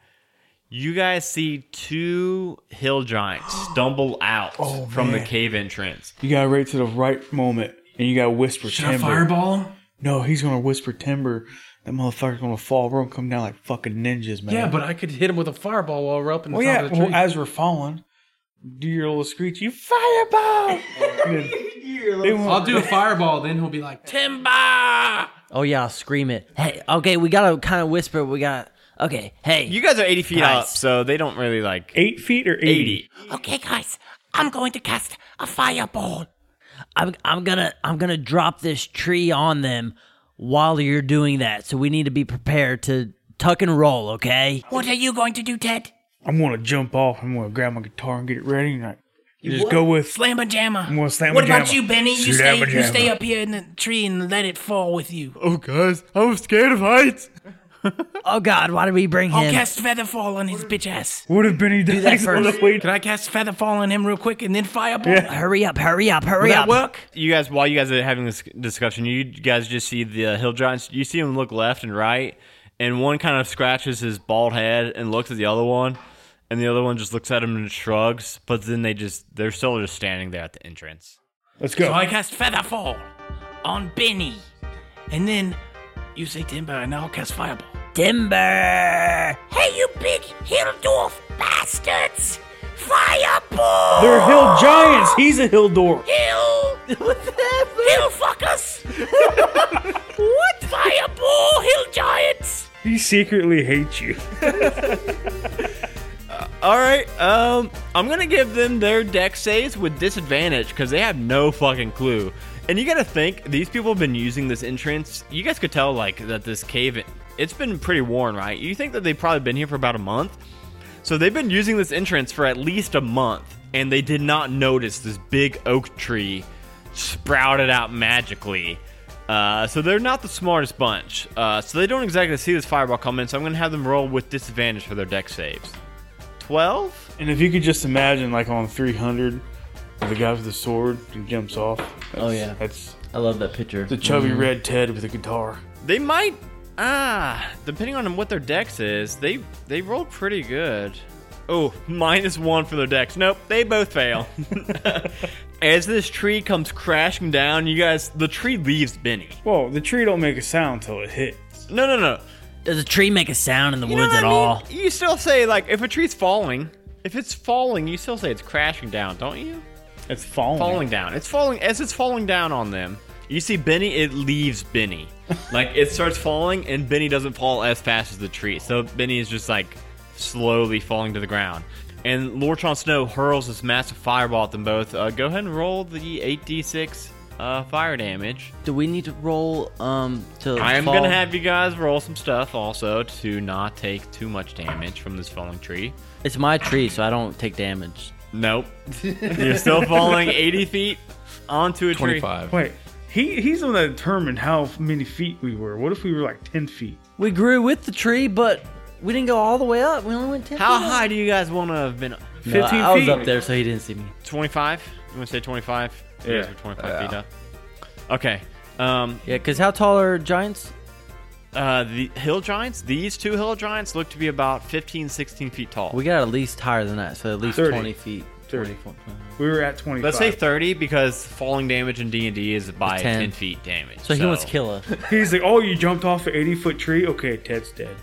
S1: you guys see two hill giants stumble out
S5: Oh,
S1: from the
S3: man.
S1: cave entrance.
S3: You gotta wait to the right moment, and you gotta whisper timber.
S5: him?
S3: No, he's gonna whisper timber. That motherfucker's gonna fall. We're gonna come down like fucking ninjas, man.
S5: Yeah, but I could hit him with a fireball while we're up in the
S3: well,
S5: top
S3: yeah.
S5: of the tree.
S3: Well, as we're falling, do your little screech. You fireball. And then they won't-
S5: I'll do a fireball, then he'll be like, Timber!
S2: Oh yeah, I'll scream it. Hey, okay, we gotta kind of whisper. We got to okay. Hey,
S1: You guys are 80 feet
S2: Nice.
S1: up, so they don't really like
S3: eight feet or 80?
S1: 80.
S6: Okay, guys, I'm going to cast a fireball.
S2: I'm I'm gonna I'm gonna drop this tree on them while you're doing that. So we need to be prepared to tuck and roll. Okay.
S6: What are you going to do, Ted?
S3: I'm gonna jump off. I'm gonna grab my guitar and get it ready. And I you just go with.
S6: Slamma jamma.
S3: I'm gonna slam
S6: what
S3: my
S6: about
S3: jamma.
S6: you, Benny? You stay,
S3: Slamma
S6: you
S3: jamma.
S6: stay up here in the tree and let it fall with you.
S1: Oh, guys, I was scared of heights.
S2: Oh God, why did we bring
S6: I'll
S2: him?
S6: cast Featherfall on his bitch ass.
S3: What if Benny dies
S2: that
S3: on the
S2: first.
S3: way
S6: Can I cast Featherfall on him real quick and then Fireball?
S2: Hurry up! Hurry up! Hurry
S6: Will
S2: up!
S6: that work?
S1: You guys, while you guys are having this discussion, you guys just see the hill giants. You see them look left and right, and one kind of scratches his bald head and looks at the other one, and the other one just looks at him and shrugs. But then they just, they're still just standing there at the entrance.
S3: Let's go.
S6: So I cast Featherfall on Benny. And then you say Timber and I'll cast Fireball.
S2: Timber!
S6: Hey, you big hill dwarf bastards! Fireball!
S3: They're hill giants. He's a hill door.
S6: Hill! What's happening? Hill fuckers! what? Fireball hill giants!
S3: He secretly hates you.
S1: All right, um, I'm gonna give them their deck saves with disadvantage because they have no fucking clue. And you gotta think these people have been using this entrance. You guys could tell like that this cave, it's been pretty worn, right? You think that they've probably been here for about a month, so they've been using this entrance for at least a month, and they did not notice this big oak tree sprouted out magically. Uh, so they're not the smartest bunch. Uh, so they don't exactly see this fireball come in. So I'm gonna have them roll with disadvantage for their deck saves. 12
S3: And if you could just imagine, like on 300, the guy with the sword who jumps off.
S2: Oh yeah,
S3: That's
S2: I love that picture.
S3: the chubby
S6: Mm-hmm.
S3: red Ted with the guitar.
S1: they might ah depending on what their dex is they they rolled pretty good oh minus one for their dex nope they both fail as this tree comes crashing down you guys the tree leaves benny
S3: Well, the tree don't make a sound till it hits.
S1: no no no
S2: Does a tree make a sound in the
S1: You know
S2: woods
S1: what
S2: at
S1: I mean?
S2: all?
S1: you still say like if a tree's falling if it's falling you still say it's crashing down don't you
S3: It's falling.
S1: falling down. It's falling as it's falling down on them. You see Benny, it leaves Benny. Like it starts falling and Benny doesn't fall as fast as the tree. So Benny is just like slowly falling to the ground. And Lortron Snow hurls this massive fireball at them both. Uh, go ahead and roll the 8d6 uh, fire damage.
S2: Do we need to roll um to?
S1: I am
S2: fall?
S1: gonna have you guys roll some stuff also to not take too much damage from this falling tree.
S2: It's my tree, so I don't take damage.
S1: Nope, you're still falling 80 feet onto a tree.
S5: 25.
S3: Wait, he he's the one that determined how many feet we were. What if we were like ten feet?
S2: We grew with the tree, but we didn't go all the way up. We only went ten.
S1: How
S2: feet up.
S1: high do you guys want to have been?
S2: No,
S3: 15
S2: I was
S3: feet.
S2: up there, so he didn't see me.
S1: 25? You want to say 25? You guys
S3: Yeah.
S1: were 25 feet up. Okay. Um,
S2: Yeah, because how tall are giants?
S1: uh, the hill giants, these two hill giants look to be about 15, 16 feet tall.
S2: We got at least higher than that, so at least
S3: 30.
S2: twenty feet.
S3: 30.
S2: 20,
S3: We were at twenty.
S1: Let's say 30 because falling damage in D&D is by 10.
S2: 10.
S1: feet damage.
S2: So, he wants to kill us.
S3: he's like, "Oh, you jumped off an eighty foot tree? Okay, Ted's dead."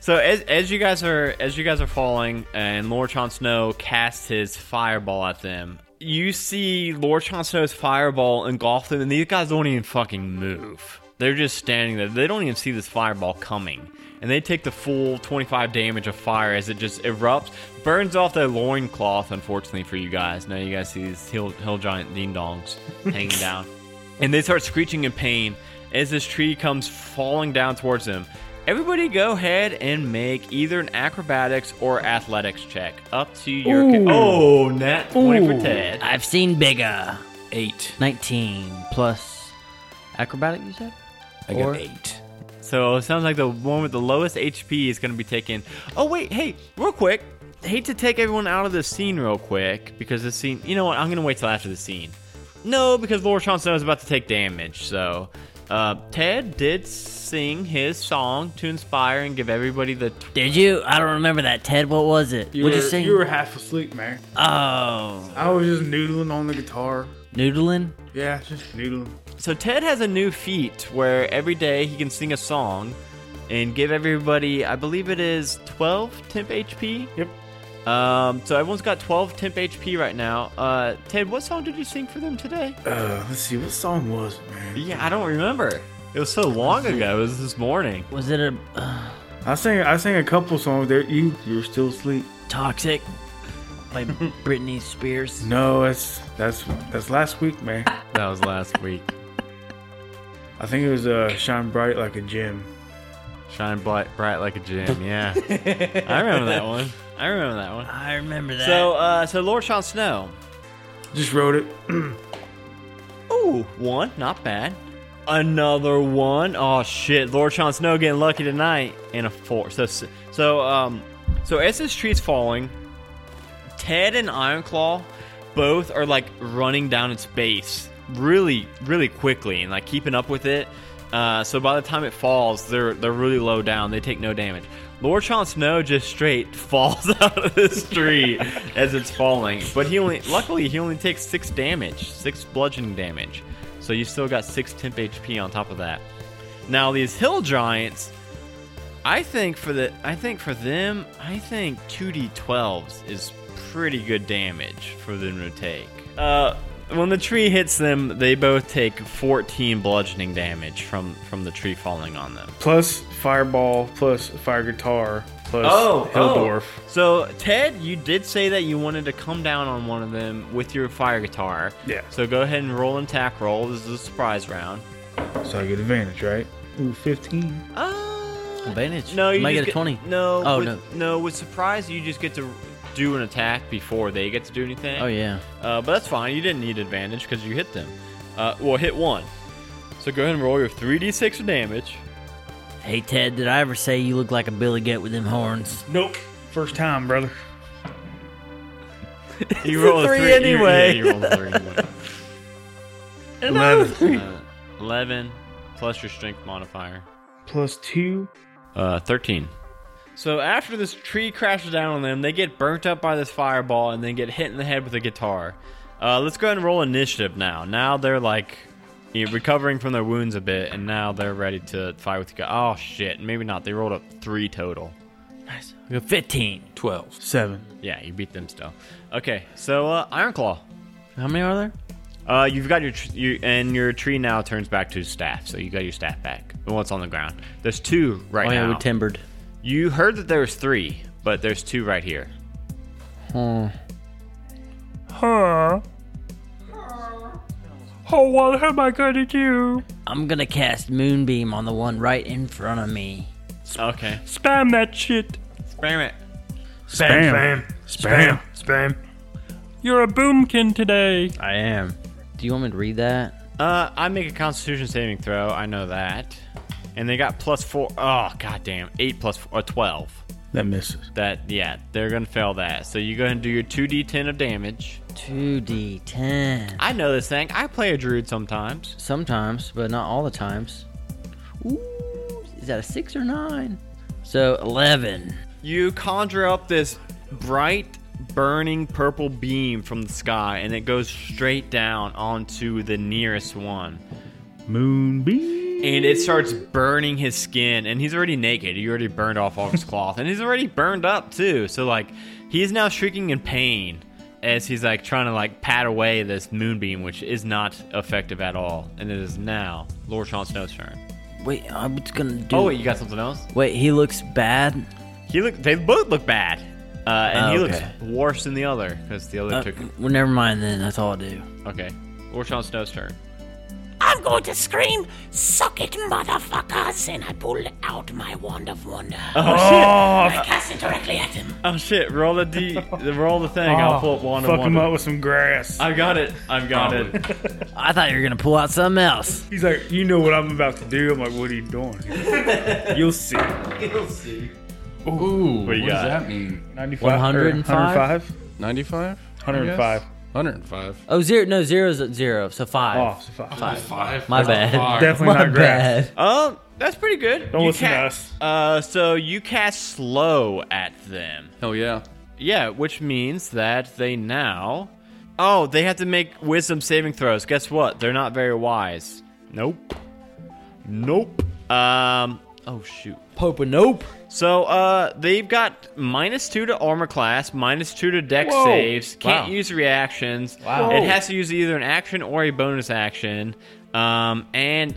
S1: So as, as you guys are as you guys are falling, and Lorchon Snow casts his fireball at them. You see Lorchon Snow's fireball engulf them, and these guys don't even fucking move. They're just standing there. They don't even see this fireball coming, and they take the full 25 damage of fire as it just erupts, burns off their loincloth. Unfortunately for you guys, now you guys see these hill, hill giant ding dongs hanging down and they start screeching in pain as this tree comes falling down towards them. Everybody, go ahead and make either an acrobatics or athletics check. Up to your
S3: Ooh.
S1: oh, nat twenty for
S3: Ooh.
S1: Ted.
S2: I've seen bigger.
S5: Eight.
S2: Nineteen plus acrobatic. You said.
S5: I
S2: Or-
S5: got eight.
S1: So it sounds like the one with the lowest HP is going to be taken. Oh wait, hey, real quick. Hate to take everyone out of this scene real quick because this scene. You know what? I'm going to wait till after the scene. No, because Laura Johnson is about to take damage. So uh, Ted did sing his song to inspire and give everybody the
S2: Did you? I don't remember that, Ted. What was it?
S3: You
S2: What'd
S3: were
S2: you sing?
S3: you were half asleep, man.
S2: oh,
S3: I was just noodling on the guitar.
S2: noodling.
S3: Yeah, just noodling.
S1: So Ted has a new feat where every day he can sing a song and give everybody, I believe it is 12 temp HP.
S3: Yep.
S1: Um, so everyone's got 12 temp HP right now. Uh, Ted, what song did you sing for them today?
S3: Uh, let's see, what song was it, man?
S1: Yeah, I don't remember. It was so long ago. It was this morning.
S2: Was it a uh,
S3: I sang I sang a couple songs there. You you were still asleep.
S2: toxic? By Britney Spears.
S3: No, that's that's that's last week, man.
S1: That was last week.
S3: I think it was uh shine bright like a gem.
S1: Shine bright, bright like a gem. Yeah, I remember that one. I remember that one.
S2: I remember that.
S1: So, uh, so Lord Sean Snow.
S3: Just wrote it.
S1: Ooh, one, not bad. Another one. Oh shit, Lord Sean Snow getting lucky tonight. And a four. So, so, um, so as this tree's falling, Ted and Ironclaw both are like running down its base really, really quickly and like keeping up with it. Uh, so by the time it falls, they're they're really low down. They take no damage. Lord Sean Snow just straight falls out of this tree as it's falling, but he only luckily he only takes six damage, six bludgeoning damage. So you still got six temp HP on top of that. Now these hill giants, I think for the I think for them, I think two d twelves is pretty good damage for them to take. Uh, when the tree hits them, they both take fourteen bludgeoning damage from from the tree falling on them.
S3: Plus fireball, plus fire guitar, plus
S2: Oh,
S3: Helldorf.
S1: So Ted, you did say that you wanted to come down on one of them with your fire guitar.
S3: Yeah.
S1: So go ahead and roll an attack roll. This is a surprise round.
S3: So I get advantage, right? Ooh, fifteen.
S1: Uh,
S2: advantage.
S1: No, you
S2: might
S1: just
S2: get a
S1: get-
S2: twenty.
S1: No.
S2: Oh
S1: with,
S2: no.
S1: No, with surprise, you just get to do an attack before they get to do anything.
S2: Oh yeah.
S1: Uh, but that's fine. You didn't need advantage because you hit them. Uh, well, hit one. So go ahead and roll your three d six of damage.
S2: Hey Ted, did I ever say you look like a billy goat with them horns?
S3: Nope. First time, brother.
S1: You roll a
S2: three
S1: you-
S2: anyway.
S1: yeah, you roll a three anyway.
S3: Eleven
S1: Uh, Eleven plus your strength modifier.
S3: plus two.
S1: Uh, 13. So after this tree crashes down on them, they get burnt up by this fireball and then get hit in the head with a guitar. Uh, let's go ahead and roll initiative now. Now they're like you know, recovering from their wounds a bit, and now they're ready to fight with you. Oh shit, maybe not. They rolled up three total.
S2: Fifteen.
S5: Twelve.
S3: Seven.
S1: Yeah, you beat them still. Okay, so uh, Ironclaw.
S2: How many are there?
S1: Uh, you've got your tr- you, and your tree now turns back to staff, so you got your staff back. The one's on the ground. There's two right
S2: Oh, yeah,
S1: now.
S2: we timbered.
S1: you heard that there was three, but there's two right here.
S2: I'm gonna cast Moonbeam on the one right in front of me.
S1: Okay.
S3: Spam that shit.
S1: Spam it.
S7: Spam, spam, spam, spam.
S3: You're a boomkin today.
S2: I am. Do you want me to read that?
S1: Uh, I make a Constitution saving throw. I know that. And they got plus four. Oh goddamn! Eight plus four, uh, twelve.
S7: That misses.
S1: That yeah, they're gonna fail that. So you go ahead and do your two d10 of damage.
S2: 2d10.
S1: I know this thing. I play a druid sometimes.
S2: Sometimes, but not all the times. Ooh, is that a 6 or 9? So, 11.
S1: You conjure up this bright, burning purple beam from the sky, and it goes straight down onto the nearest one.
S7: Moonbeam.
S1: And it starts burning his skin, and he's already naked. He already burned off all his cloth, and he's already burned up too. So like, he is now shrieking in pain as he's like trying to like pat away this moonbeam, which is not effective at all. And it is now Lord Sean Snow's turn.
S2: Wait, I was gonna do.
S1: Oh wait, you got something else?
S2: Wait, he looks bad.
S1: He look. They both look bad, uh, and
S2: Oh,
S1: he
S2: okay.
S1: looks worse than the other because the other
S2: Uh,
S1: took.
S2: well, never mind then. That's all I do.
S1: Okay, Lord Sean Snow's turn.
S6: I'm going to scream, suck it, motherfuckers! And I pull out my wand of wonder. Oh, shit! I cast it directly at him.
S1: Oh shit! Roll the d. roll the thing. I'll pull up one
S3: Oh, Fuck
S1: of
S3: him
S1: one.
S3: up with some grass.
S1: I've got it. I've got it.
S2: I thought you were gonna pull out something else.
S3: He's like, you know what I'm about to do. I'm like, what are you doing? You'll see.
S5: Ooh, what
S1: you
S5: does
S1: got?
S5: that mean?
S3: 95,
S2: 105?
S3: 105?
S5: 95?
S3: 105.
S5: 105.
S2: Oh, zero. No, zero's at zero. So five.
S3: Oh, so fuck.
S5: Five.
S2: My bad.
S3: Definitely
S2: My
S3: not grass.
S2: bad.
S1: Oh, that's pretty good.
S3: Don't
S1: You
S3: listen to
S1: ca-
S3: us.
S1: Uh, so you cast slow at them.
S5: Hell yeah.
S1: Yeah, which means that they now. Oh, they have to make wisdom saving throws. Guess what? They're not very wise. Nope. Nope. Um. Oh shoot.
S2: Pope a nope.
S1: So uh, they've got minus two to armor class, minus two to dex
S3: Whoa.
S1: saves. Can't
S3: Wow.
S1: use reactions.
S3: Wow.
S1: It has to use either an action or a bonus action, um, and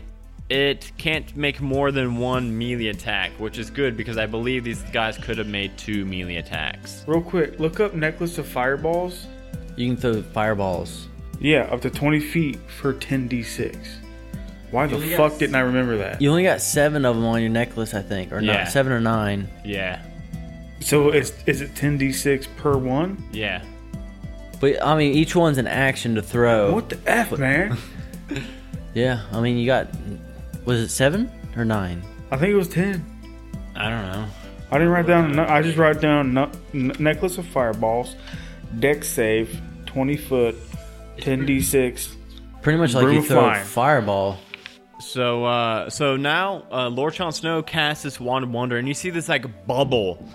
S1: it can't make more than one melee attack, which is good because I believe these guys could have made two melee attacks.
S3: Real quick, look up necklace of fireballs.
S2: You can throw fireballs.
S3: Yeah, up to 20 feet for 10d6. Why the fuck didn't I remember that?
S2: You only got seven of them on your necklace, I think, or
S1: Yeah.
S2: not seven or nine.
S1: Yeah,
S3: So is, is it 10d6 per one?
S1: yeah.
S2: But I mean, each one's an action to throw.
S3: What the F, man?
S2: Yeah, I mean, you got was it seven or nine?
S3: I think it was 10.
S2: I don't know.
S3: I didn't write down. I just write down nu- n- necklace of fireballs, deck save, twenty foot, ten d six.
S2: Pretty much like
S3: Broom
S2: you
S3: of
S2: throw a
S3: flying.
S2: fireball.
S1: So, uh, so now uh, Lord Jon Snow casts this wand of wonder, and you see this like bubble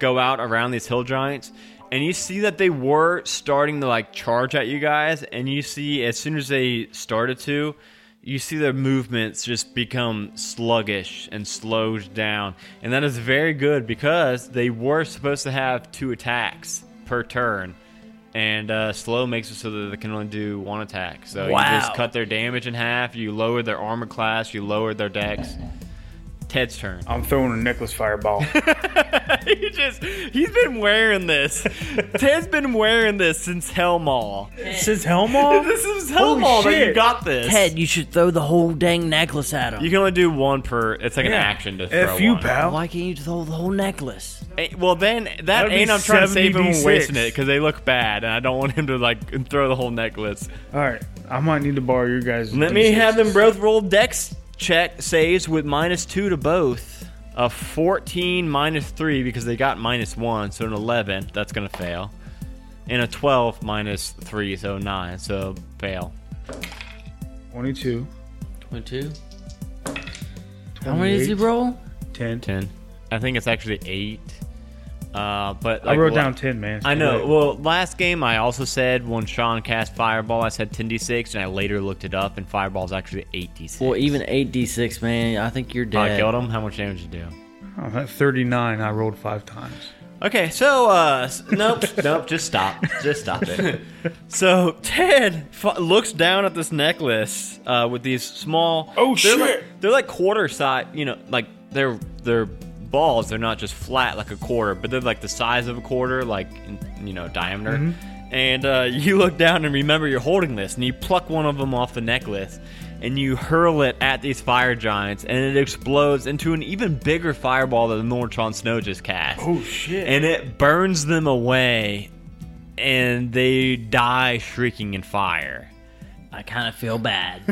S1: go out around these hill giants, and you see that they were starting to like charge at you guys, and you see as soon as they started to, you see their movements just become sluggish and slowed down, and that is very good because they were supposed to have two attacks per turn. And uh, slow makes it so that they can only do one attack. So you just
S2: Wow.
S1: cut their damage in half. You lower their armor class. You lower their dex. Ted's turn.
S3: I'm throwing a necklace fireball.
S1: he just he's been wearing this. Ted's been wearing this since Hellmall.
S3: Since Helmall,
S1: This is Hellmall that you
S3: shit.
S1: got this.
S2: Ted, you should throw the whole dang necklace at him.
S1: You can only do one per. It's like an action to throw
S3: F you,
S1: one.
S3: pal.
S2: Why can't you throw the whole necklace?
S1: Eh, Well, then that
S3: That'd be
S1: ain't I'm trying to save him from
S3: 70d6.
S1: wasting it because they look bad, and I don't want him to like throw the whole necklace.
S3: All right, I might need to borrow your guys.
S1: Let me have them both roll dex check saves with minus two to both. A 14 minus three because they got minus one, so an 11. That's going to fail. And a 12 minus three, so nine. So fail.
S3: Twenty two.
S2: Twenty-two. How many does he roll?
S3: 10.
S1: 10. I think it's actually eight. Uh, but
S3: I
S1: like,
S3: wrote
S1: la-
S3: down ten, man.
S1: I know. Well, last game I also said when Sean cast Fireball, I said 10d6, and I later looked it up, and Fireball's actually 8d6.
S2: Well, even eight d six, man. I think you're
S1: I
S2: dead.
S1: killed him. How much damage did you do?
S3: I'm at thirty nine. I rolled five times.
S1: Okay, so uh, s- nope, nope, just stop, just stop it. So Ted f- looks down at this necklace uh, with these small.
S3: Oh,
S1: they're
S3: shit.
S1: Like, they're like quarter size, you know, like they're they're balls. They're not just flat like a quarter, but they're like the size of a quarter, like in, you know, diameter. And uh, you look down and remember you're holding this, and you pluck one of them off the necklace, and you hurl it at these fire giants, and it explodes into an even bigger fireball that the Nortron Snow just cast
S3: Oh shit!
S1: and it burns them away and they die shrieking in fire
S2: I kind of feel bad.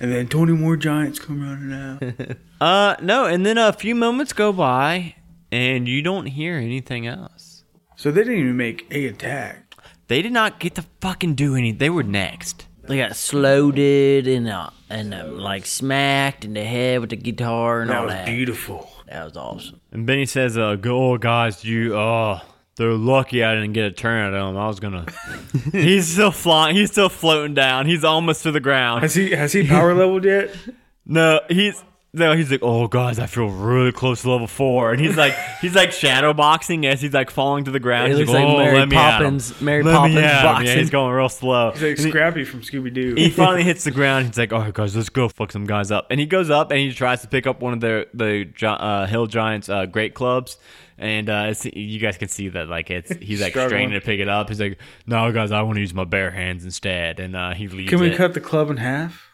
S3: And then twenty more giants come running out.
S1: uh no and then a few moments go by and you don't hear anything else
S3: so they didn't even make a attack.
S1: they did not get to fucking do any they were next
S2: they got slowed and uh, and uh, like smacked in the head with the guitar and
S3: That
S2: all
S3: was
S2: that.
S3: beautiful.
S2: That was awesome.
S8: And Benny says, uh, go, oh, guys, you, uh, they're lucky I didn't get a turn at them. I was gonna.
S1: he's still flying he's still floating down he's almost to the ground
S3: Has he has he power leveled yet?
S1: no he's no, he's like, oh guys, I feel really close to level four, and he's like, he's like shadow boxing as he's like falling to the ground.
S2: It
S1: he's
S2: looks like
S1: oh,
S2: Mary
S1: let me at 'em.
S2: Poppins. Mary
S1: Let me
S2: Poppins
S1: at 'em."
S2: boxing.
S1: Yeah, he's going real slow.
S3: He's like
S1: And he-
S3: Scrappy from Scooby
S1: he
S3: Doo.
S1: finally hits the ground. He's like, "All right, guys, let's go fuck some guys up." And he goes up and he tries to pick up one of the the gi- uh, Hill Giants' uh, great clubs. And uh, it's, you guys can see that like it's he's like
S3: Struggling.
S1: straining to pick it up. He's like, "No, guys, I want to use my bare hands instead." And uh, he leaves.
S3: Can we
S1: it.
S3: cut the club in half?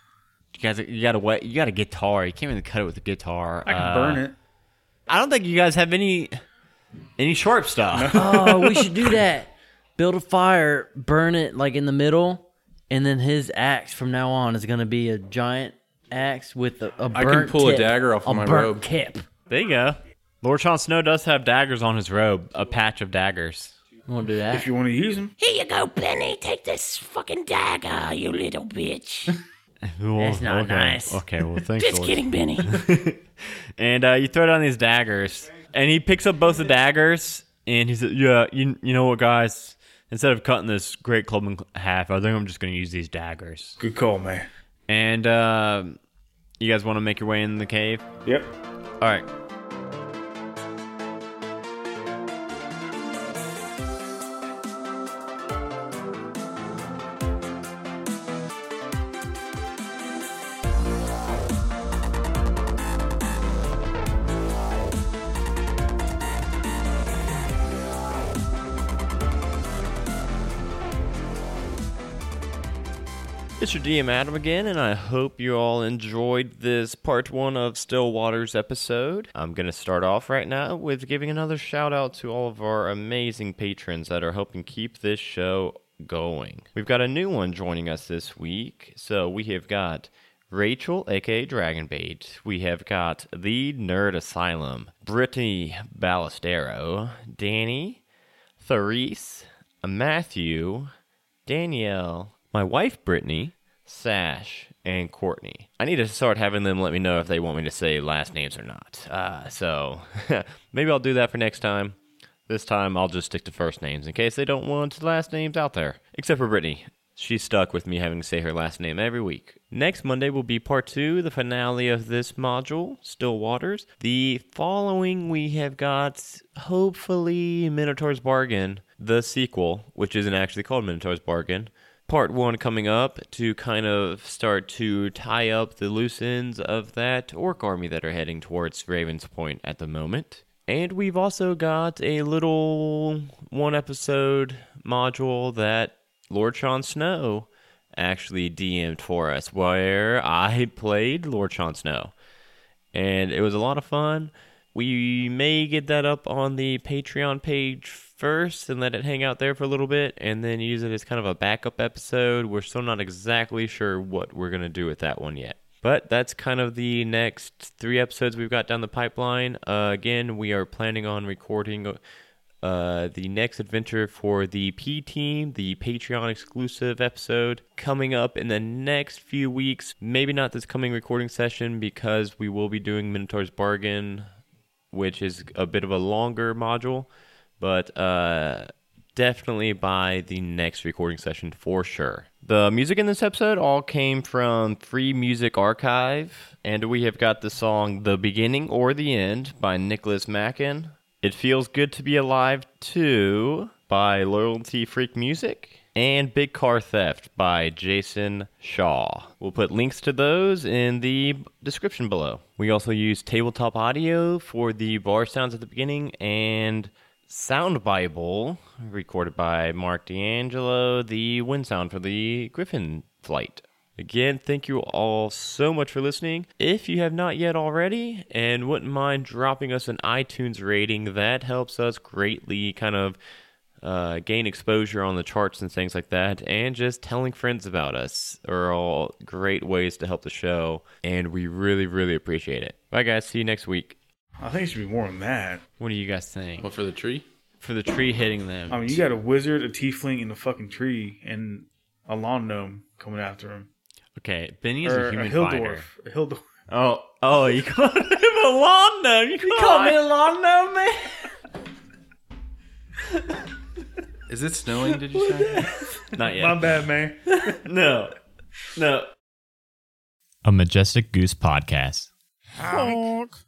S1: You guys, you got a what? You got a guitar. You can't even cut it with a guitar.
S3: I can
S1: Uh,
S3: burn it.
S1: I don't think you guys have any any sharp stuff.
S2: oh, we should do that. Build a fire, burn it like in the middle, and then his axe from now on is gonna be a giant axe with a, a burnt
S5: I can pull a
S2: tip.
S5: dagger off
S2: a
S5: of my
S2: burnt
S5: robe.
S2: Tip.
S1: there you go. Lord Sean Snow does have daggers on his robe, a patch of daggers.
S2: You wanna do
S3: If
S2: that?
S3: you want to use them,
S6: Here you go, Benny. Take this fucking dagger, you little bitch.
S1: That's
S2: not nice.
S1: Okay, well, thanks,
S6: Just kidding, Benny.
S1: and uh, you throw down these daggers, and he picks up both the daggers, and he says, "Yeah, you, you know what, guys? Instead of cutting this great club in half, I think I'm just going to use these daggers."
S3: good call, man.
S1: And uh, you guys want to make your way in the cave?
S3: Yep.
S1: All right. It's your DM Adam again, and I hope you all enjoyed this part one of Stillwater's episode. I'm going to start off right now with giving another shout out to all of our amazing patrons that are helping keep this show going. We've got a new one joining us this week. So we have got Rachel, aka Dragonbait. We have got The Nerd Asylum, Brittany Ballestero, Danny, Therese, Matthew, Danielle, my wife Brittany, Sash, and Courtney. I need to start having them let me know if they want me to say last names or not. Uh, so maybe I'll do that for next time. This time I'll just stick to first names in case they don't want last names out there. Except for Brittany. She's stuck with me having to say her last name every week. Next Monday will be part two, the finale of this module, Still Waters. The following we have got hopefully Minotaur's Bargain, the sequel, which isn't actually called Minotaur's Bargain. Part one coming up to kind of start to tie up the loose ends of that orc army that are heading towards Raven's Point at the moment. And we've also got a little one episode module that Lord Sean Snow actually DM'd for us, where I played Lord Sean Snow. And it was a lot of fun. We may get that up on the Patreon page first and let it hang out there for a little bit and then use it as kind of a backup episode. We're still not exactly sure what we're going to do with that one yet. But that's kind of the next three episodes we've got down the pipeline. Uh, again, we are planning on recording uh, the next adventure for the P Team, the Patreon exclusive episode, coming up in the next few weeks. Maybe not this coming recording session because we will be doing Minotaur's Bargain, which is a bit of a longer module, but uh, definitely by the next recording session for sure. The music in this episode all came from Free Music Archive, and we have got the song The Beginning or the End by Nicholas Mackin. It Feels Good to Be Alive 2 by Loyalty Freak Music and Big Car Theft by Jason Shaw. We'll put links to those in the description below. We also use Tabletop Audio for the bar sounds at the beginning and Sound Bible, recorded by Mark D'Angelo, the wind sound for the Griffin flight. Again, thank you all so much for listening. If you have not yet already and wouldn't mind dropping us an iTunes rating, that helps us greatly kind of uh, gain exposure on the charts and things like that. And just telling friends about us are all great ways to help the show. And we really, really appreciate it. Bye, guys. See you next week.
S3: I think it should be more than that.
S9: What do you guys think?
S5: What for the tree?
S9: For the tree hitting them.
S3: I mean, you got a wizard, a tiefling, and a fucking tree, and a lawn gnome coming after him.
S9: okay, Benny is
S3: Or
S9: a
S3: a,
S9: human
S3: hill
S9: fighter.
S3: dwarf. A hill dwarf.
S9: Oh, oh, you called him a lawn gnome. You called,
S10: Call me a lawn gnome, man.
S5: Is it snowing? Did you say?
S9: Not yet.
S3: My bad, man.
S9: No. No. A Majestic Goose Podcast.
S11: Honk.